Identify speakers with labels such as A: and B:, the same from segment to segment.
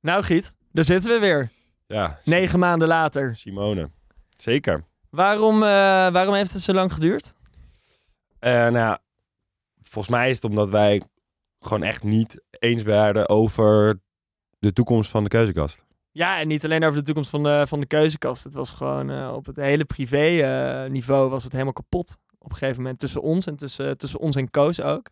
A: Nou Giet, daar zitten we weer.
B: Ja, Si-
A: Negen maanden later.
B: Simone. Zeker.
A: Waarom, eh, waarom heeft het zo lang geduurd?
B: Eh, nou, ja, volgens mij is het omdat wij gewoon echt niet eens werden over de toekomst van de keuzekast.
A: Ja, en niet alleen over de toekomst van de, van de keuzekast. Het was gewoon eh, op het hele privé eh, niveau was het helemaal kapot. Op een gegeven moment tussen ons en tussen, tussen ons en Koos ook.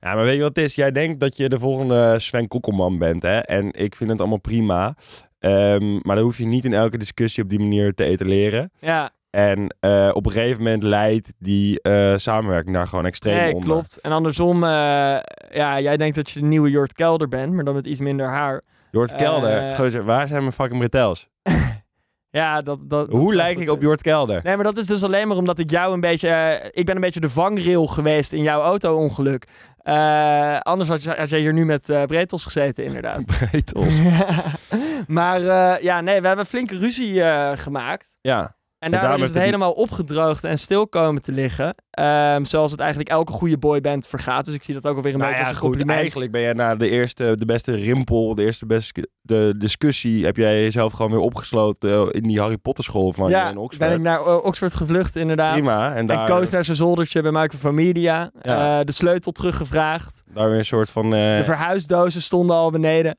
B: Ja, maar weet je wat het is? Jij denkt dat je de volgende Sven Kokkelman bent, hè? En ik vind het allemaal prima. Ehm, maar dan hoef je niet in elke discussie op die manier te etaleren.
A: Ja,
B: En eh, op een gegeven moment leidt die eh, samenwerking daar gewoon extreem
A: nee,
B: onder.
A: klopt. En andersom, eh, ja, jij denkt dat je de nieuwe Jort Kelder bent, maar dan met iets minder haar.
B: Jort Kelder,
A: Eh,
B: gozer, waar zijn mijn fucking bretels?
A: Ja, dat, dat, dat
B: Hoe
A: is
B: lijk
A: echt-
B: ik op Jort Kelder?
A: Nee, maar dat is dus alleen maar omdat ik jou een beetje... eh, ik ben een beetje de vangrail geweest in jouw auto-ongeluk. Eh, anders had, je, had jij hier nu met eh bretels gezeten, inderdaad.
B: Bretels.
A: maar eh, ja, nee, we hebben flinke ruzie eh, gemaakt.
B: Ja,
A: En
B: daarom
A: daardoor is
B: heeft
A: het
B: het
A: helemaal opgedroogd en stil komen te liggen. Ehm, zoals het eigenlijk elke goede boyband vergaat. Dus ik zie dat ook alweer een
B: nou
A: beetje
B: ja,
A: als een
B: goed.
A: compliment.
B: Eigenlijk ben jij na de eerste, de beste rimpel, de eerste beste de discussie, heb jij jezelf gewoon weer opgesloten eh, in die Harry Potter school van
A: ja,
B: in Oxford.
A: ben ik naar eh, Oxford gevlucht, inderdaad.
B: Prima. En
A: En
B: daar, eh.
A: koos naar zijn zoldertje bij Microfamedia.
B: Ja.
A: Eh, de sleutel teruggevraagd.
B: daar weer een soort van eh,
A: De verhuisdozen stonden al beneden.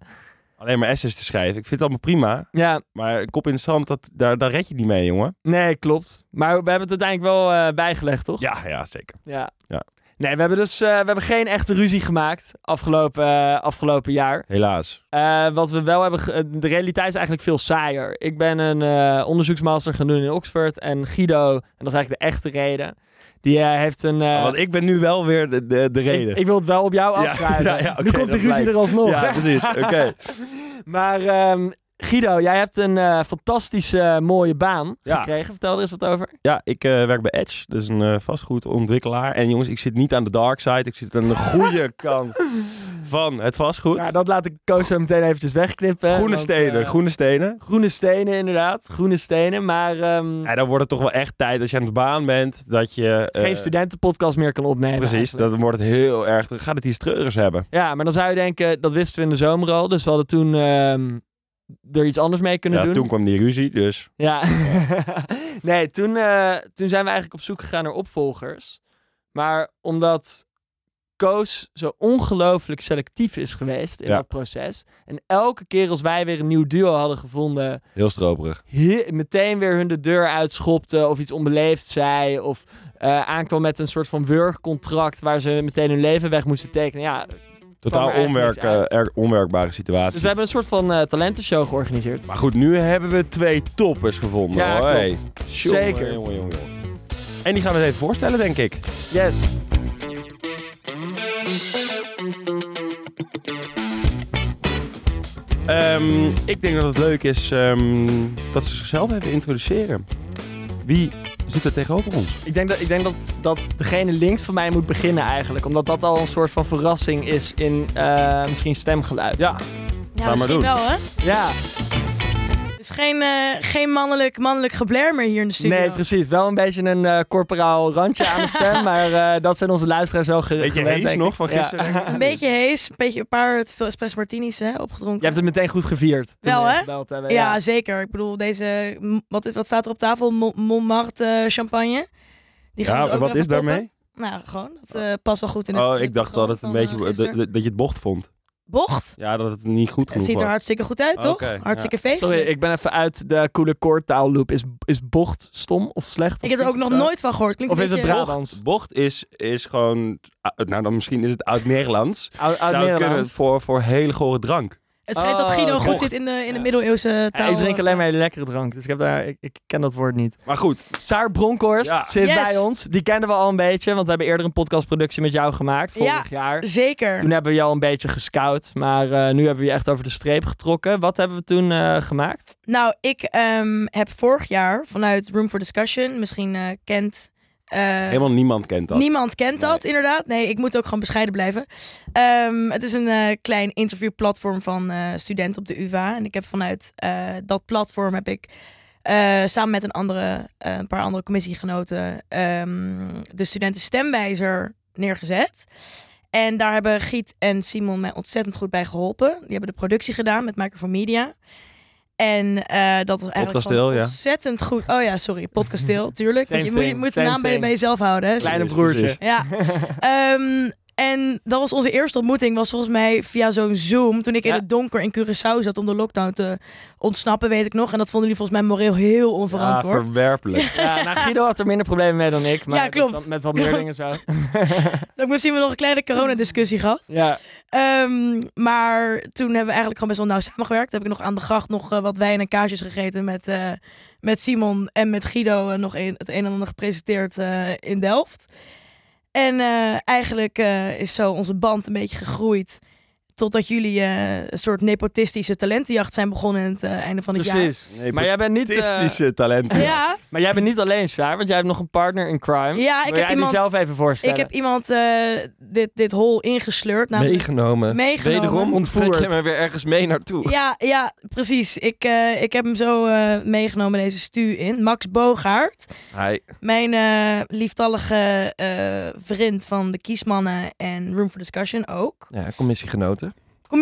B: alleen maar essays te schrijven. Ik vind het allemaal prima,
A: Ja,
B: maar kop in het zand, dat, daar, daar red je niet mee, jongen.
A: nee, klopt. Maar we hebben het uiteindelijk wel eh, bijgelegd, toch?
B: Ja, ja, zeker.
A: Ja.
B: Ja.
A: Nee, we hebben dus eh, we hebben geen echte ruzie gemaakt afgelopen, eh, afgelopen jaar.
B: Helaas.
A: Eh, wat we wel hebben. ge- eh, De realiteit is eigenlijk veel saaier. Ik ben een eh, onderzoeksmaster gaan doen in Oxford. En Guido, en dat is eigenlijk de echte reden. Die eh, heeft een. eh,
B: Want ik ben nu wel weer de, de, Ah, de
A: ik,
B: reden.
A: ik wil het wel op jou
B: Ja,
A: afschrijven.
B: ja, ja,
A: nu
B: oké,
A: komt die ruzie
B: dat blijkt.
A: er alsnog.
B: ja, precies. Oké.
A: Maar ehm, Guido, jij hebt een eh, fantastische eh, mooie baan
B: Ja.
A: gekregen. Vertel er eens wat over.
B: Ja, ik eh, werk bij Edge. Dat is een eh, vastgoedontwikkelaar. En jongens, ik zit niet aan de dark side. Ik zit aan de goede kant van het vastgoed.
A: Ja, Nou, dat laat ik Koos zo meteen eventjes wegknippen.
B: groene
A: want,
B: steden,
A: eh,
B: groene stenen.
A: groene stenen, inderdaad. Groene stenen. Maar ehm,
B: En dan wordt het toch wel echt tijd als je aan de baan bent dat je. eh,
A: geen studentenpodcast meer kan opnemen.
B: Precies,
A: eigenlijk.
B: dan wordt het heel erg. Dan gaat het iets treurigs hebben.
A: Ja, maar dan zou je denken, dat wisten we in de zomer al. Dus we hadden toen ehm, er iets anders mee kunnen
B: Ja,
A: doen.
B: toen kwam die ruzie, dus.
A: Ja. nee, toen, eh, toen zijn we eigenlijk op zoek gegaan naar opvolgers. Maar omdat Koos zo ongelooflijk selectief is geweest in
B: Ja.
A: dat proces. En elke keer als wij weer een nieuw duo hadden gevonden,
B: Heel stroperig.
A: he- meteen weer hun de deur uitschopte of iets onbeleefd zei. Of eh, aankwam met een soort van wurgcontract waar ze meteen hun leven weg moesten tekenen. Ja,
B: Totaal
A: er eigenlijk
B: onwerk,
A: niks uit.
B: eh, erg onwerkbare
A: dus
B: situatie.
A: we hebben een soort van eh, talentenshow georganiseerd.
B: Maar goed, nu hebben we twee toppers gevonden.
A: Ja,
B: hoor. Hey.
A: klopt.
B: Jongen,
A: Zeker.
B: jongen, jongen, jongen. En die gaan we eens even voorstellen, denk ik.
A: Yes.
B: Ehm, ik denk dat het leuk is ehm, dat ze zichzelf even introduceren. Wie zit er tegenover ons?
A: Ik denk, dat, ik denk dat, dat degene links van mij moet beginnen eigenlijk. Omdat dat al een soort van verrassing is in eh, misschien stemgeluid.
B: Ja,
C: Ja,
B: maar
C: misschien
B: doen.
C: wel, hè?
A: Ja,
C: Het is geen, eh, geen mannelijk, mannelijk gebler meer hier in de studio.
A: nee precies. Wel een beetje een eh, corporaal randje aan de stem. maar eh, dat zijn onze luisteraars wel ge
B: weet je
A: gewend,
B: Hees
A: denk ik.
B: nog van
A: Ja.
B: gisteren? denk ik?
C: Een beetje hees, een, beetje, een paar te veel espresso martinis hè, opgedronken.
A: Je hebt het meteen goed gevierd. toen
C: Wel,
A: we je
C: hè?
A: gebeld hebben,
C: ja,
A: Ja.
C: zeker. Ik bedoel, deze, m- wat, is- wat staat er op tafel? Mo- Montmartre eh, champagne. Die gaan we dus
B: Ja,
C: ook
B: wat
C: even
B: is
C: poppen.
B: daarmee?
C: Nou, gewoon. Dat eh, past wel goed in het in
B: Oh,
C: het
B: ik dacht dat
C: patroon
B: het een
C: van,
B: beetje
C: eh,
B: dat
C: gisteren.
B: dat je het bocht vond.
C: Bocht?
B: Ja, dat het niet goed
C: Het
B: genoeg
C: ziet er
B: was.
C: hartstikke goed uit, toch?
B: Oké,
C: hartstikke feest.
A: Sorry, ik ben even uit de coole koortaalloop. Is, is bocht stom of slecht?
C: Ik
A: of
C: heb er ook
A: iets of
C: nog
A: zo?
C: nooit van gehoord. Klinkt
A: Of
C: een
A: is het
C: beetje-
A: Brabants?
B: Bocht is, is gewoon, ah, nou dan misschien is het oud-Nederlands.
A: Oud- oud
B: Zou het kunnen
A: Nederlands.
B: voor, voor hele gore drank.
C: Het schijnt dat
A: Oh,
C: Guido goed
A: bocht.
C: zit in de, in de
A: Ja.
C: middeleeuwse
A: Ja,
C: taal. eh,
A: ik drink alleen maar hele lekkere drank, dus ik, heb daar, ik, ik ken dat woord niet.
B: Maar goed,
A: Saar Bronkhorst
B: Ja.
A: zit
C: Yes.
A: bij ons. Die kenden we al een beetje, want we hebben eerder een podcastproductie met jou gemaakt, vorig jaar.
C: Zeker.
A: Toen hebben we jou een beetje gescout, maar eh, nu hebben we je echt over de streep getrokken. Wat hebben we toen eh, gemaakt?
C: Nou, ik ehm, heb vorig jaar vanuit Room for Discussion, misschien eh, kent. eh,
B: helemaal niemand kent dat.
C: Niemand kent dat,
B: Nee.
C: inderdaad. Nee, ik moet ook gewoon bescheiden blijven. Ehm, het is een eh, klein interviewplatform van eh, studenten op de UvA. En ik heb vanuit eh, dat platform heb ik eh, samen met een, andere, eh, een paar andere commissiegenoten ehm, de studenten stemwijzer neergezet. En daar hebben Giet en Simon mij ontzettend goed bij geholpen. Die hebben de productie gedaan met Maker for Media. En eh, dat was eigenlijk
B: Podcasteel,
C: gewoon
B: ja.
C: ontzettend goed. Oh ja, sorry, podcasteel, tuurlijk. Want je
A: Same
C: moet, je
A: thing,
C: moet de
A: same
C: naam bij,
A: thing.
C: bij jezelf houden. hè.
A: Kleine
B: Precies,
A: broertje.
B: precies.
C: Ja. Ehm, en dat was onze eerste ontmoeting, was volgens mij via zo'n Zoom. Toen ik in
A: Ja.
C: het donker in Curaçao zat om de lockdown te ontsnappen, weet ik nog. En dat vonden jullie volgens mij moreel heel
B: Ja,
C: onverantwoord.
B: verwerpelijk.
A: Ja, nou, Guido had er minder problemen mee dan ik. Maar
C: Ja,
A: het is wel-
C: klopt.
A: met wat meer dingen zo.
C: Ik heb misschien wel nog een kleine coronadiscussie gehad.
A: Ja,
C: Ehm, maar toen hebben we eigenlijk gewoon best wel nauw samengewerkt. Heb ik nog aan de gracht nog eh, wat wijn en kaasjes gegeten met, eh, met Simon en met Guido. En nog een, het een en ander gepresenteerd eh, in Delft. En eh, eigenlijk eh, is zo onze band een beetje gegroeid. Totdat jullie eh, een soort nepotistische talentenjacht zijn begonnen aan het eh, einde van het
A: precies. Maar jij bent niet... eh,
B: Fantastische talenten.
C: jaar. Ja,
A: maar jij bent niet alleen, Saar, want jij hebt nog een partner in crime.
C: ja
A: Wil
C: ik,
A: jij
C: heb
A: die
C: iemand,
A: zelf even
C: ik
A: voorstellen?
C: heb iemand eh, dit, dit hol ingesleurd. Namelijk
B: Meegenomen.
C: meegenomen.
B: Wederom ontvoerd.
A: Trek je
B: maar weer ergens mee naartoe.
C: Ja, ja, precies. Ik, eh, ik heb hem zo eh, meegenomen deze stu in. Max Boogaard,
B: Hij
C: mijn eh, lieftallige eh, vriend van de Kiesmannen en Room for Discussion ook.
D: Ja, commissiegenoten.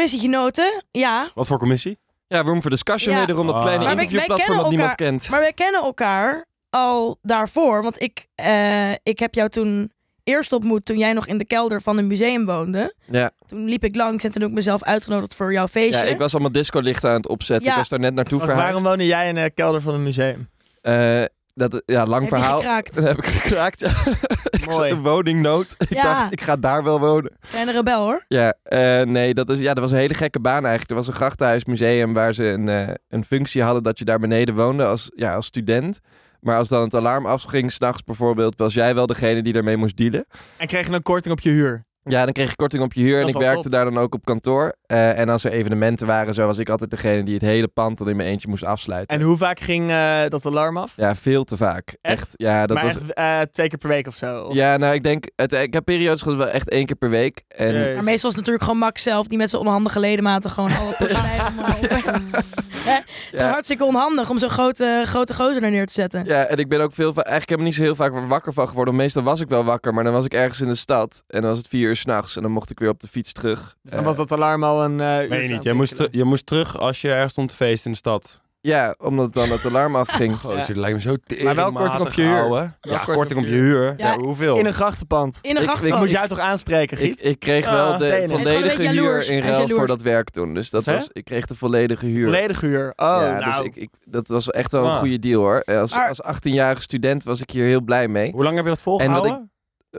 C: Commissiegenoten, ja.
B: Wat voor commissie?
D: Ja, Room for Discussion
C: Ja.
D: wederom, dat
B: Ah.
D: kleine
B: Maar wij-
C: wij
D: interviewplatform
C: kennen
D: dat niemand
C: elkaar.
D: kent.
C: Maar wij kennen elkaar al daarvoor. Want ik, eh, ik heb jou toen eerst ontmoet toen jij nog in de kelder van een museum woonde.
D: Ja.
C: Toen liep ik langs en toen heb ik mezelf uitgenodigd voor jouw
D: ja,
C: feestje.
D: ik was allemaal discolichten aan het opzetten.
C: Ja.
D: Ik was daar net naartoe
A: Want waarom
D: verhuisd.
A: woonde jij in de kelder van een museum?
D: Eh, dat, ja, lang
C: Heeft hij
D: verhaal.
C: gekraakt?
D: Dat heb ik gekraakt. Ja. ik zat
A: Mooi.
D: in woningnood. Ik
C: Ja.
D: dacht, ik ga daar wel wonen.
C: Kleine rebel hoor.
D: Ja, eh, nee, dat, is, ja, dat was een hele gekke baan eigenlijk. Er was een grachthuismuseum waar ze een, eh, een functie hadden dat je daar beneden woonde als, ja, als student. Maar als dan het alarm afging, s'nachts bijvoorbeeld, was jij wel degene die daarmee moest dealen.
A: En kreeg je een korting op je huur?
D: Ja, dan kreeg je korting op je huur en
A: Dat is
D: ik
A: wel
D: werkte
A: top.
D: daar dan ook op kantoor. Eh, en als er evenementen waren, zo was ik altijd degene die het hele pand dan in mijn eentje moest afsluiten.
A: En hoe vaak ging eh, dat alarm af?
D: Ja, veel te vaak.
A: Echt?
D: Echt? Ja, dat
A: maar
D: was...
A: echt eh, twee keer per week of zo? Of-
D: Ja, nou, ik denk... Het, ik heb periodes gehad wel echt één keer per week. En
A: Jezus.
C: Maar meestal is het natuurlijk gewoon Max zelf die met zijn onhandige ledematen gewoon alle porselein om Het is
D: ja,
C: hartstikke onhandig om zo'n grote, grote gozer er neer te zetten.
D: ja, en ik ben ook veel... va- Eigenlijk heb ik niet zo heel vaak wakker van geworden. want Meestal was ik wel wakker, maar dan was ik ergens in de stad. En dan was het vier uur s'nachts. En dan mocht ik weer op de fiets terug.
A: Dus dan
D: Eh,
A: was dat alarm al een eh uur
B: Meen je
A: aan
B: niet.
A: het
B: Jij moest,
A: tikkelen.
B: je moest terug als je ergens stond te feest in de stad.
D: Ja, omdat dan het alarm afging.
B: Goh,
A: Ja.
B: dit lijkt me zo
A: Maar wel
B: teringmatig
A: korting op je huur.
B: ouwe.
A: Wel
B: Ja, korting op je huur.
C: Ja,
B: Ja, hoeveel?
A: In een grachtenpand.
C: In een
D: Ik-
C: grachtpand.
D: Oh, ik
A: Dat moet
D: moet
A: jij toch aanspreken,
D: Ik,
A: Giet?
D: ik kreeg
A: Ah,
D: wel de
A: stenen.
C: Hij is gewoon
D: volledige
C: een beetje
D: huur
C: jaloers.
D: in
C: Hij is
D: ruil voor
C: jaloers.
D: dat werk toen. Dus dat
A: Wat
D: was, ik kreeg de volledige huur.
A: Volledig huur. Oh,
D: ja,
A: nou.
D: dus ik, ik, dat was echt wel een
B: Ah.
D: goede deal hoor. Eh, Als,
C: Maar-
D: als 18-jarige student was ik hier heel blij mee.
B: Hoe lang heb je dat volgehouden?
D: En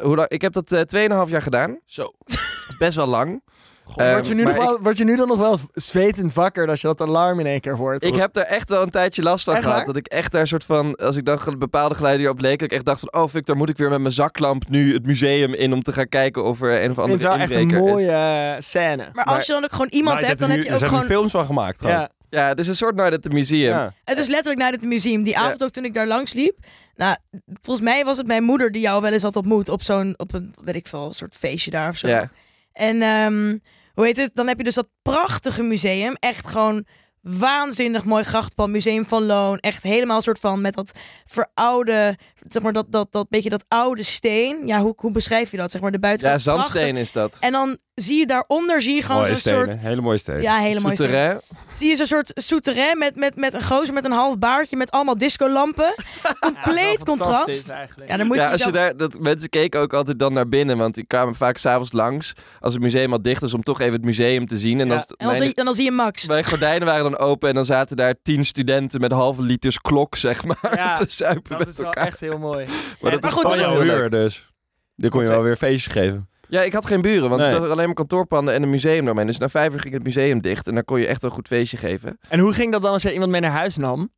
D: Hoe lang, ik heb dat eh 2,5 jaar gedaan.
B: Zo.
D: Dat is best wel lang.
B: God,
D: Eh,
A: word, je nu nog
D: maar
A: wel, word je nu dan nog wel zwetend wakker als je dat alarm in één keer hoort?
D: Ik heb daar echt wel een tijdje last van
A: Echt
D: gehad.
A: waar?
D: Dat ik echt daar soort van, als ik dan ge- bepaalde geluiden hierop leek, dat ik echt dacht van, oh fuck, daar moet ik weer met mijn zaklamp nu het museum in om te gaan kijken of er een of
A: vind het
D: andere
A: wel echt een
D: inbreker is.
A: mooie eh, scène.
C: Maar als je dan ook gewoon iemand
B: Nou, dit
C: hebt, dan heb
B: nu-
C: je
B: er
C: ook
B: zijn
C: gewoon...
B: nu films van gemaakt. gewoon.
A: Ja.
D: Ja, het is een soort Night at the Museum.
B: Ja.
C: Het is letterlijk naar het museum. Die
D: Ja.
C: avond ook toen ik daar langs liep. Nou, volgens mij was het mijn moeder die jou wel eens had ontmoet op zo'n, op een, weet ik veel, soort feestje daar of zo.
D: Ja.
C: En ehm, hoe heet het? Dan heb je dus dat prachtige museum. Echt gewoon waanzinnig mooi grachtpand. Museum van Loon. Echt helemaal een soort van met dat veroude, zeg maar dat, dat, dat beetje dat oude steen. Ja, hoe, hoe beschrijf je dat? Zeg maar de buitenkant.
D: ja, zandsteen
C: prachtig.
D: is dat.
C: En dan zie je daaronder, zie je gewoon
B: Mooie
C: zo'n
B: stenen.
C: soort...
B: Hele mooie stenen.
C: Ja, helemaal
D: Souterrain.
C: Zie je zo'n soort souterrain met, met, met een gozer met een half baardje met allemaal discolampen. Compleet contrast. Ja, dan moet je
D: Ja, als je
C: jezelf-
D: daar, dat, mensen keken ook altijd dan naar binnen, want die kwamen vaak s'avonds langs als het museum al dicht is om toch even het museum te zien. En
A: Ja.
D: als het-
C: En dan,
D: mijn-
C: zie, en dan zie je Max.
D: Mijn gordijnen waren dan open en dan zaten daar tien studenten met halve liters klok, zeg maar,
A: Ja,
D: te zuipen
A: Dat is
D: met
A: wel
D: elkaar.
A: echt heel mooi.
D: Maar dat
C: Maar
D: is
B: Van
C: goed,
D: gewoon
C: dat is-
B: jouw
D: heel leuk.
B: huur dus. Dan kon je wel weer feestjes geven.
D: Ja, ik had geen buren, want
B: Nee.
D: het was alleen maar kantoorpanden en een museum daarmee. Dus na vijf uur ging het museum dicht en dan kon je echt wel een goed feestje geven.
A: En hoe ging dat dan als jij iemand mee naar huis nam?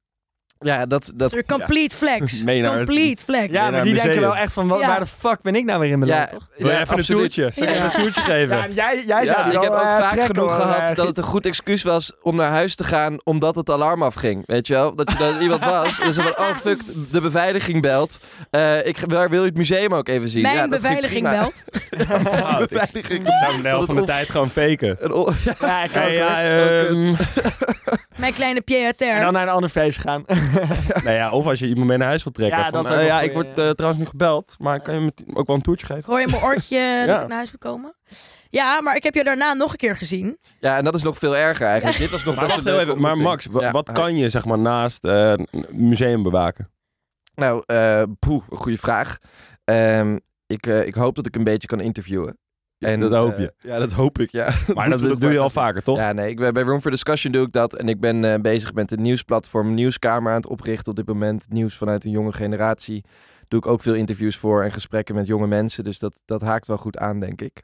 D: Ja, dat... dat
C: Een complete flex.
B: Mee naar het-
C: Complete flex.
A: Ja,
B: naar
A: maar
B: een
A: die denken
B: museum.
A: wel echt van, wa-
C: Ja.
A: waar de fuck ben ik nou weer in beland,
D: ja,
A: toch?
B: Wil je
D: ja,
B: even een
D: absoluut.
B: toertje? Zal ik
C: Ja.
B: even een toertje geven?
A: Ja, jij, jij
B: Ja,
A: zou die
D: ik
A: wel,
D: heb ook
A: eh,
D: vaak
A: trekken,
D: genoeg
A: hoor,
D: gehad
A: eh,
D: dat het een goed excuus was om naar huis te gaan omdat het alarm afging. Weet je wel? Dat je dan iemand was. En ze van, oh fuck, de beveiliging belt. Eh, ik, waar wil je het museum ook even zien?
C: Mijn
D: Ja, dat ging
C: beveiliging
D: prima.
C: belt.
B: Goud.
D: Beveiliging.
B: Ik zou de
D: Dat
B: helft
D: het
B: van de
D: of-
B: tijd gewoon faken.
D: Een o-
A: Ja, ik ook, hoor.
B: Hey, ja,
D: Oh, kut.
B: ehm,
C: Mijn mijn kleine Pierre
A: En dan
C: Ter.
A: naar een ander feest gaan.
B: nou ja, of als je iemand mee naar huis wilt trekken.
A: Ja,
B: van,
A: dat is
B: eh,
A: ook wel
B: ja
A: een
B: ik
A: goeie,
B: word
A: ja.
B: eh, trouwens nu gebeld, maar kan je me t- ook wel een toertje
C: Ik
B: geven?
C: hoor in mijn oortje dat
B: Ja.
C: ik naar huis wil komen. Ja, maar ik heb je daarna nog een keer gezien.
D: Ja, en dat is nog veel erger eigenlijk. Dit was nog
B: Maar,
D: best
B: wacht
D: een
B: heel
D: leuke
B: even, maar Max,
D: ontmoeting.
B: wa-
D: Ja,
B: wat
D: hij-
B: kan je zeg maar naast eh, een museum bewaken?
D: Nou, eh poeh, een goede vraag. Ehm, ik, eh, ik hoop dat ik een beetje kan interviewen.
B: dat hoop
D: eh,
B: je.
D: ja, dat hoop ik, ja.
B: Maar
D: moeten
B: dat
D: we nog
B: doe je
D: maar
B: al
D: even-
B: vaker, toch?
D: Ja, nee, ik ben, bij Room for Discussion doe ik dat. En ik ben eh, bezig met het nieuwsplatform Nieuwskamer aan het oprichten op dit moment. Het Nieuws vanuit een jonge generatie. Doe ik ook veel interviews voor en gesprekken met jonge mensen. Dus dat, dat haakt wel goed aan, denk ik.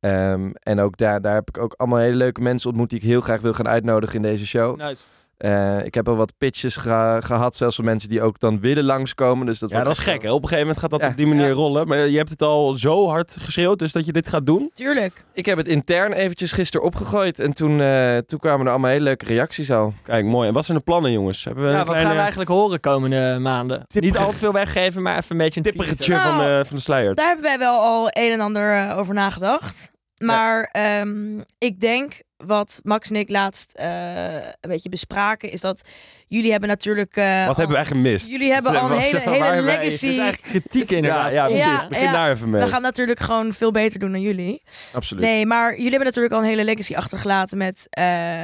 D: Ehm, en ook daar, daar heb ik ook allemaal hele leuke mensen ontmoet die ik heel graag wil gaan uitnodigen in deze show.
A: Nice.
D: Eh, ik heb al wat pitches ge- gehad, zelfs van mensen die ook dan willen langskomen. Dus dat,
B: Ja,
D: wordt
B: dat is
D: echt
B: gek.
D: wel-
B: Hè? Op een gegeven moment gaat dat
D: Ja.
B: op die manier
A: Ja.
B: rollen. Maar je hebt het al zo hard geschreeuwd, dus dat je dit gaat doen.
C: Tuurlijk.
D: Ik heb het intern eventjes gisteren opgegooid. En toen, eh, toen kwamen er allemaal hele leuke reacties al.
B: Kijk, mooi. En wat zijn de plannen, jongens? Hebben we
A: Ja,
B: een
A: wat
B: kleine
A: gaan we eigenlijk horen komende maanden?
B: Tipperige-
A: Niet al te veel weggeven, maar even een beetje een
B: tippertje
A: teaser.
B: van,
C: Nou,
B: de- van de sluier?
C: Daar hebben wij wel al een en ander eh, over nagedacht. Maar ehm, ik denk wat Max en ik laatst eh, een beetje bespraken, is dat jullie hebben natuurlijk. eh,
B: Wat
C: al-
B: hebben wij gemist?
C: Jullie hebben al een
B: Wat-
C: hele,
B: waar hebben
C: hele
B: wij-
A: Dit is
C: legacy.
A: eigenlijk kritiek
B: Ja,
A: inderdaad.
B: ja,
A: op
B: precies.
A: ons.
C: Ja,
B: Begin
C: ja.
B: daar even mee.
C: We gaan natuurlijk gewoon veel beter doen dan jullie.
D: Absoluut.
C: Nee, maar jullie hebben natuurlijk al een hele legacy achtergelaten met eh,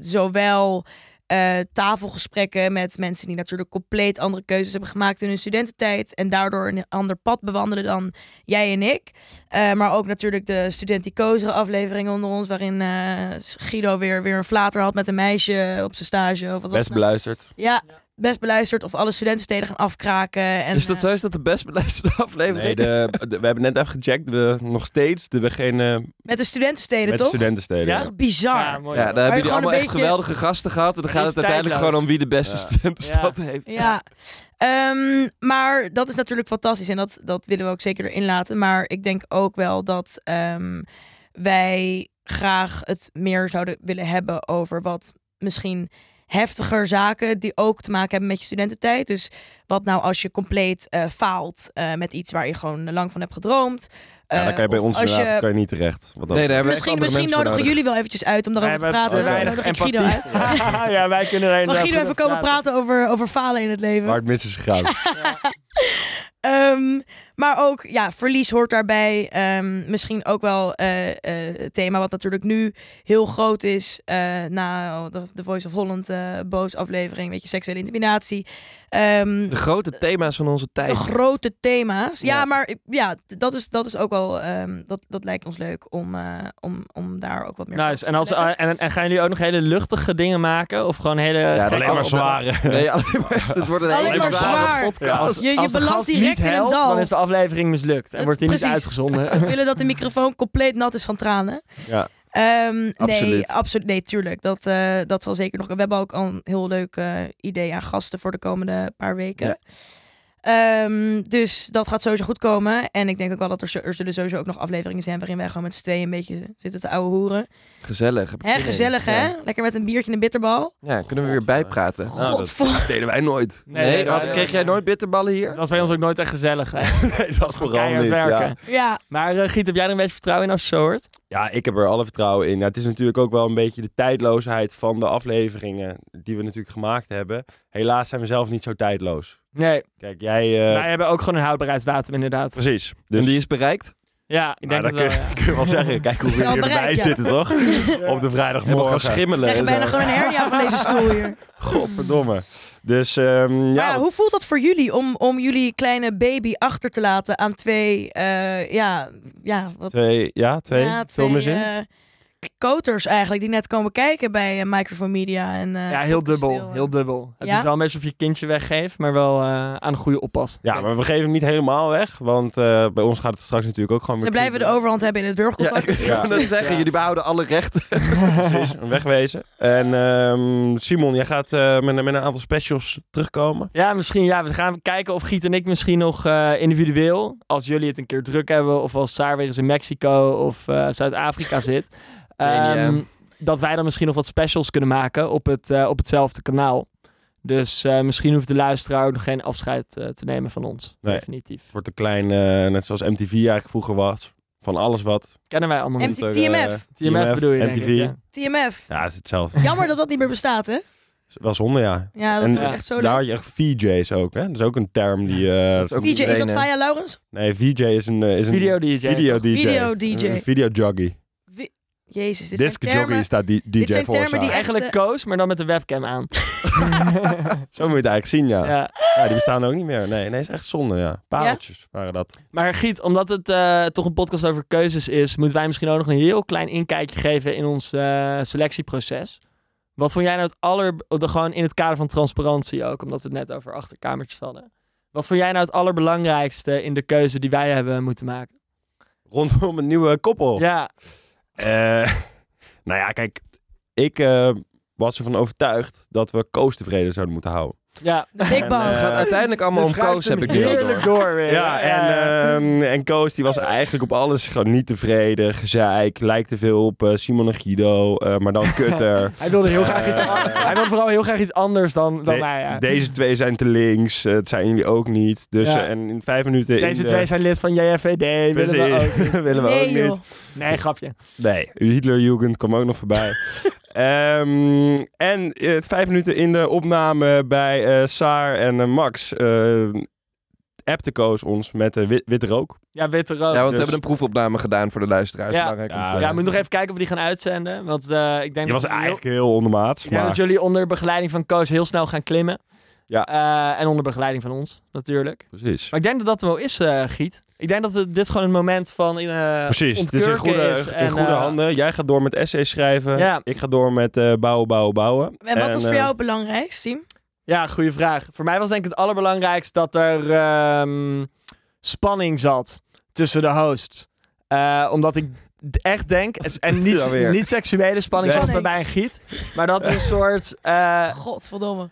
C: zowel eh, tafelgesprekken met mensen die natuurlijk compleet andere keuzes hebben gemaakt in hun studententijd en daardoor een ander pad bewandelen dan jij en ik. Eh, maar ook natuurlijk de student die kozen aflevering onder ons, waarin eh, Guido weer, weer een flater had met een meisje op zijn stage. Of wat was het
B: Best
C: nou?
B: beluisterd.
C: Ja, best beluisterd. Of alle studentensteden gaan afkraken. En,
D: is dat
C: eh,
D: zo? Is dat de best beluisterde aflevering?
B: Nee, de, de- we hebben net even gecheckt. We, nog steeds de degene
C: met de studentensteden,
B: met de
C: toch?
B: studentensteden.
A: Ja?
C: Echt Bizar.
A: Ja, mooi.
C: Maar
D: Ja, daar hebben jullie
C: gewoon
D: allemaal
C: een
D: echt
C: beetje-
D: geweldige gasten gehad. En dan
A: Hij
D: gaat
A: is
D: het uiteindelijk
A: tijdloos.
D: gewoon om wie de beste
B: Ja.
D: studentenstad heeft.
C: Ja. Ehm, maar dat is natuurlijk fantastisch en dat, dat willen we ook zeker erin laten. Maar ik denk ook wel dat ehm, wij graag het meer zouden willen hebben over wat misschien heftiger zaken die ook te maken hebben met je studententijd. Dus wat nou als je compleet eh, faalt eh, met iets waar je gewoon lang van hebt gedroomd.
B: Ja, dan
C: Eh,
B: kan je bij
C: of
B: ons
C: als je-
B: inderdaad kan je niet terecht. Wat dat
D: Nee, daar hebben we echt
C: Misschien,
D: andere
C: misschien
D: mensen voor
C: nodigen
D: nodig.
C: jullie wel eventjes uit om daarover te
A: Wij hebben
C: praten.
A: te weinig
C: Nodig ik Guido uit.
A: empathie. ja, wij kunnen er
C: Mag
A: inderdaad
C: Guido
A: goed
C: even komen
A: over
C: praten over, over falen in het leven?
B: Waar het mis is gegaan.
C: Ehm, maar ook, ja, verlies hoort daarbij. Ehm, misschien ook wel eh, eh, het thema wat natuurlijk nu heel groot is. eh, na de, de Voice of Holland eh, boos aflevering, weet je, seksuele intimidatie. Ehm,
D: De grote thema's van onze
C: de
D: tijd.
C: grote thema's. Ja,
D: Ja.
C: maar ik- ja, t- dat is, dat is ook wel, ehm, dat, dat lijkt ons leuk om, eh, om, om daar ook wat meer
A: Nice.
C: focus
A: En,
C: op
A: als, eh,
C: te leggen.
A: en, en, gaan jullie ook nog hele luchtige dingen maken? Of gewoon hele...
D: Ja,
A: gekke-
B: Alleen maar
D: Alleen
B: zware.
D: Nee, alleen maar echt, het wordt een
C: Alleen
D: hele
B: maar
C: zwaar.
D: zware
A: Ja,
D: podcast.
A: als,
C: Je- je
A: als de
C: belandt
A: gast
C: direct
A: niet
C: in een
A: helpt,
C: dal.
A: dan is de aflevering mislukt. En
C: Dat-
A: wordt die niet
C: precies.
A: uitgezonden.
C: We willen dat de microfoon compleet nat is van tranen.
B: Ja.
C: Ehm,
D: Absoluut.
C: Nee, absoluut. Nee, tuurlijk. Dat, eh, dat zal zeker nog. We hebben ook al een heel leuk eh, idee aan gasten voor de komende paar weken.
D: Ja.
C: Ehm, dus dat gaat sowieso goed komen. En ik denk ook wel dat er, zo- er zullen sowieso ook nog afleveringen zijn waarin wij gewoon met z'n tweeën een beetje zitten te ouwe hoeren.
D: Gezellig. heb ik
C: Hè,
D: zin in.
C: gezellig hè?
D: Ja.
C: Lekker met een biertje en een bitterbal.
D: Ja, kunnen we
B: God,
D: weer bijpraten.
B: Nou, dat-
C: Godver-
B: Dat deden wij nooit.
D: Nee, had-
A: dat-
D: kreeg jij nooit bitterballen hier?
A: Dat was bij ons ook nooit echt gezellig. Hè?
B: Nee, dat was vooral
A: Keihard
B: niet.
A: werken.
B: Ja.
C: Ja,
A: Maar eh, Giet, heb jij er een beetje vertrouwen in als je zo hoort?
B: ja, ik heb er alle vertrouwen in. Ja, het is natuurlijk ook wel een beetje de tijdloosheid van de afleveringen die we natuurlijk gemaakt hebben. Helaas zijn we zelf niet zo tijdloos.
A: Nee,
B: Kijk, jij... eh,
A: wij hebben ook gewoon een houdbaarheidsdatum inderdaad.
B: Precies.
D: En
B: Dus
D: die is bereikt?
A: Ja, ik
B: Nou,
A: denk
B: dat
A: het wel.
B: kun,
A: ja.
B: kun je wel zeggen. Kijk hoe we
C: Wel
B: hier erbij
C: bereikt, ja.
B: zitten, toch? Op de
D: Helemaal gaan
B: vrijdagmorgen.
D: schimmelen.
C: krijg je
D: en
C: bijna
D: zo.
C: gewoon een hernia van deze stoel hier.
B: Godverdomme. Dus ehm,
C: Maar
B: ja,
C: ja, hoe voelt dat voor jullie om, om jullie kleine baby achter te laten aan twee, eh, ja, ja, wat,
B: twee, ja, twee,
C: Ja,
B: filmen in.
C: eh, koters eigenlijk, die net komen kijken bij eh, Microphone Media. En, eh,
A: Ja, heel
C: op de stil,
A: dubbel.
C: eh.
A: Heel dubbel. Het
C: Ja?
A: is wel een beetje of je kindje weggeeft, maar wel eh, aan de goede oppas.
B: Ja, maar we geven hem niet helemaal weg, want eh, bij ons gaat het straks natuurlijk ook gewoon
C: Ze
B: weer
C: blijven de
B: kriebelen.
C: overhand hebben in het
D: Ja,
C: wurgcontact.
D: ik
B: Ja.
D: kan net zeggen,
A: Ja.
D: jullie behouden alle rechten.
B: Precies, wegwezen. En ehm, Simon, jij gaat eh, met, met een aantal specials terugkomen.
A: Ja, misschien. Ja, we gaan kijken of Giet en ik misschien nog eh, individueel, als jullie het een keer druk hebben, of als Saar weer eens in Mexico of eh, Zuid-Afrika zit,
D: Weet niet,
A: ehm, dat wij dan misschien nog wat specials kunnen maken op, het, eh, op hetzelfde kanaal. Dus eh, misschien hoeft de luisteraar ook nog geen afscheid eh, te nemen van ons.
B: Nee.
A: Definitief.
B: Het wordt een klein, eh, net zoals MTV eigenlijk vroeger was. Van alles wat.
A: Kennen wij allemaal niet.
C: MTV.
B: Komt er,
C: TMF.
B: eh,
A: TMF, bedoel je, denk
B: MTV.
A: ik, ja.
C: TMF.
B: Ja, is hetzelfde.
C: Jammer dat dat niet meer bestaat, hè?
B: Wel zonde, ja.
C: Ja, dat
B: En eh,
C: is
A: ja,
C: echt zo
B: Daar
C: leuk.
B: had je echt VJ's ook, hè? Dat is ook een term die... eh,
D: Dat is ook
C: VJ, is dat
D: iedereen, eh,
C: Faya Laurens?
B: Nee, VJ is een... eh, Is een
A: Video DJ.
B: Video DJ.
C: Video DJ.
B: Een video joggy.
C: Wie- Jezus, dit
B: Disc
C: zijn termen.
B: joggy staat die, DJ
C: zijn
B: voor.
C: termen
B: staan.
C: die echt-
A: Eigenlijk Koos, maar dan met de webcam aan.
B: Zo moet je het eigenlijk zien, ja. ja.
A: ja.
B: die bestaan ook niet meer. Nee, nee, is echt zonde, ja. Pareltjes waren dat.
A: Maar Giet, omdat het eh, toch een podcast over keuzes is, moeten wij misschien ook nog een heel klein inkijkje geven in ons eh, selectieproces. Wat vond jij nou het aller... de- Gewoon in het kader van transparantie ook, omdat we het net over achterkamertjes hadden. Wat vond jij nou het allerbelangrijkste in de keuze die wij hebben moeten maken?
B: Rondom een nieuwe
D: Oh.
B: koppel.
A: Ja,
B: Eh, nou ja, kijk. Ik eh, was ervan overtuigd dat we Koos tevreden zouden moeten houden.
A: ja.
C: De Big
B: En,
C: Boss.
D: Het
B: eh,
D: gaat uiteindelijk allemaal om
B: dus schuift
D: koos,
B: hem
D: heb ik nu al door. eh,
A: Heerlijk door weer.
B: Ja, en, ehm, en Koos die was eigenlijk op alles gewoon niet tevreden. Gezeik, lijkt te veel op eh, Simon en Guido, eh, maar dan kutter.
A: Hij wilde heel graag iets...
B: Eh,
A: an- Hij wilde vooral heel graag iets anders dan, dan
B: De-
A: wij. ja.
B: Deze twee zijn te links, eh, het zijn jullie ook niet. Dus
A: Ja.
B: eh, en in vijf minuten... in
A: Deze
B: de-
D: eh,
A: twee zijn lid van JFVD. Willen we
B: Precies.
A: ook.
B: willen we
C: nee,
B: ook
C: joh.
B: niet.
A: Nee, grapje.
B: Nee, Hitlerjugend kwam ook nog voorbij. Ehm, en eh, vijf minuten in de opname bij eh, Saar en eh, Max eh appte Koos ons met eh, wit, wit rook.
A: Ja, witte rook.
D: Ja, want
B: dus-
D: we hebben een proefopname gedaan voor de luisteraars.
A: Ja.
D: Belangrijk om
B: Oh, Ja,
D: te-
A: Ja, we moeten nog even kijken of we die gaan uitzenden. Want eh, ik denk
B: Die was
A: dat we
B: eigenlijk heel ondermaats.
A: Ik denk dat
B: Maar
A: jullie onder begeleiding van Koos heel snel gaan klimmen.
B: Ja.
A: Eh, en onder begeleiding van ons, natuurlijk.
B: precies.
A: Maar ik denk dat dat hem wel is, eh, Giet. Ik denk dat we dit gewoon het moment van eh
B: Precies, het is in
A: ontkurken
B: goede,
A: is
B: in
A: en,
B: goede
A: eh,
B: handen. Jij gaat door met essays schrijven.
A: Ja.
B: Ik ga door met eh, bouwen, bouwen, bouwen.
C: En wat was voor
B: eh,
C: jou het belangrijkste, Tim?
A: Ja, goede vraag. Voor mij was denk ik het allerbelangrijkst dat er ehm, spanning zat tussen de hosts. Eh, omdat ik d- echt denk, en- en
D: Ja,
A: niet,
D: weer.
A: niet seksuele spanning
C: Zeg.
A: zoals bij mij en Giet, maar dat er een soort... eh,
C: Godverdomme.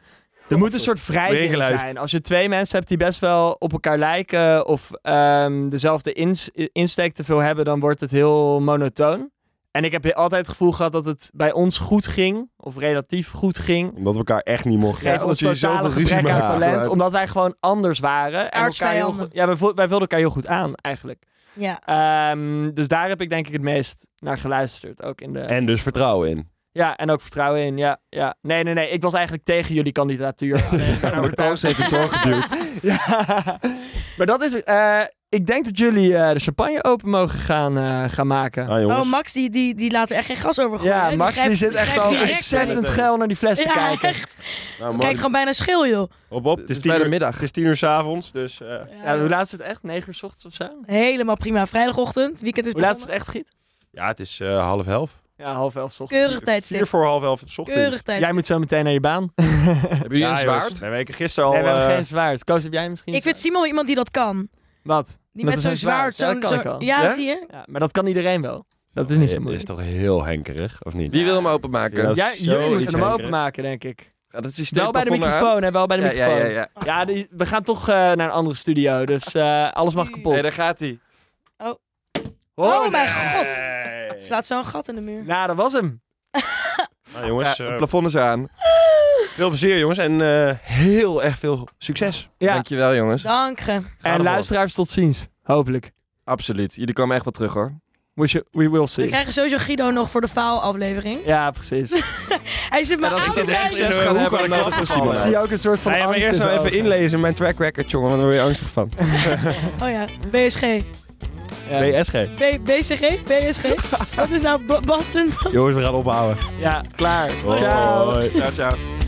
A: Er moet een soort wrijving
B: Regeluist.
A: zijn. Als je twee mensen hebt die best wel op elkaar lijken of ehm, dezelfde ins- insteek te veel hebben, dan wordt het heel monotoon. En ik heb he- altijd het gevoel gehad dat het bij ons goed ging, of relatief goed ging.
B: Omdat we elkaar echt niet mochten.
A: Geef
D: omdat
A: ons
D: jullie
A: totale
D: zoveel ruzie
A: gebrek aan
B: maakten.
A: talent, omdat wij gewoon anders waren. En elkaar heel
C: Aardsvijanden.
A: goed, ja, wij, vo- wij vulden elkaar heel goed aan, eigenlijk.
C: Ja.
A: Ehm, dus daar heb ik denk ik het meest naar geluisterd. Ook in de,
B: En dus vertrouwen in.
A: Ja, en ook vertrouwen in. Ja, ja. Nee, nee, nee. Ik was eigenlijk tegen jullie kandidatuur. Alleen, ik ben
B: Maar
A: overtuigd.
B: Koos heeft het doorgeduwd.
A: ja. Maar dat is. eh, ik denk dat jullie eh, de champagne open mogen gaan, eh, gaan maken.
B: Ah, jongens.
C: Oh, Max die, die, die laat er echt geen gas over gooien. hè?
A: ja,
C: Die
A: Max die
C: grijpt-
A: zit echt
C: grijpt
A: al
C: direct
A: ontzettend
B: bij.
A: geil naar die fles te
C: Ja,
A: kijken.
C: echt.
B: Nou, man,
C: Kijkt gewoon bijna schil, joh.
B: Op, op. Het
D: Het
B: is
D: is bij
B: tien
D: de
B: uur,
D: middag.
B: het is tien uur s'avonds, dus... eh,
A: Ja, hoe laat is het echt? 9 uur s ochtends of zo?
C: Helemaal prima. Vrijdagochtend, weekend is
A: Hoe laat is
C: begonnen.
A: het echt, Giet?
B: ja, het is eh, half elf.
A: Ja, half elf 's ochtends.
C: Keurig
B: Vier
C: tijdstip.
B: voor half elf 's ochtends.
C: Keurig
A: Jij
C: tijdstip.
A: moet zo meteen naar je baan.
D: Hebben jullie een
B: jongens.
D: zwaard?
B: Nee, we hebben gisteren al...
A: nee, we hebben
B: eh,
A: geen zwaard. Koos, heb jij misschien?
C: Ik vind Simon wel iemand die dat kan.
A: Wat?
C: Die
A: Met zo'n
C: met, zo'n zwaard.
A: zwaard. Ja,
C: zo'n-
A: dat kan ik
C: zo'n-
A: wel.
C: ja,
D: Ja?
C: zie je?
A: Ja, maar dat kan iedereen wel. Dat is niet zo
B: eh,
A: moeilijk.
B: is toch heel henkerig, of niet?
D: Wie wil hem
B: Ja,
D: openmaken?
B: dat is
A: Jij, jullie
B: zoiets
A: moeten hem
B: henkerig.
A: openmaken, denk ik.
D: Ja, dat systeem
A: Wel bij de
D: plafond eraan.
A: microfoon, hè? Wel bij de
D: Ja, ja,
A: microfoon.
D: ja,
A: Ja,
D: ja.
A: die, we gaan toch eh, naar een andere studio, dus eh, alles mag kapot.
D: Nee, daar gaat hij.
C: Oh,
A: nee.
C: mijn god.
B: Hey.
C: Slaat zo'n gat in de muur.
A: Nou, dat was hem.
B: Nou, jongens,
D: Ja,
B: eh,
D: het plafond is aan.
B: veel plezier, jongens. En eh, heel erg veel succes.
A: Ja,
D: Dankjewel, jongens.
C: Dank je.
A: en
B: ervoor.
A: luisteraars, tot ziens. Hopelijk.
D: Absoluut. Jullie komen echt wel terug, hoor.
A: We, sh- we will
C: We
A: see.
C: krijgen sowieso Guido nog voor de faalaflevering.
A: Ja, precies. Ik
C: Hij zit maar
D: En als
C: aan
D: ik
C: te
D: dat
C: kijken.
D: succes
B: Hoe
D: gaan
B: kan
D: hebben,
B: ik
D: dan
B: nou
D: nodig we
B: toch
D: Simon
B: zien?
D: uit.
A: zie ook een soort van
B: Ga je maar
A: angst
B: eerst
A: in
B: wel
A: zijn
B: even
A: ogen.
B: inlezen, mijn track record, jongen, want daar word je angstig van.
C: Oh ja, BSG.
A: Ja.
B: BSG.
C: B- BCG? BSG? Wat is nou B- Boston?
B: Jongens, we gaan ophouden.
A: Ja, klaar. Ciao.
B: Hoi.
D: Ciao, ciao.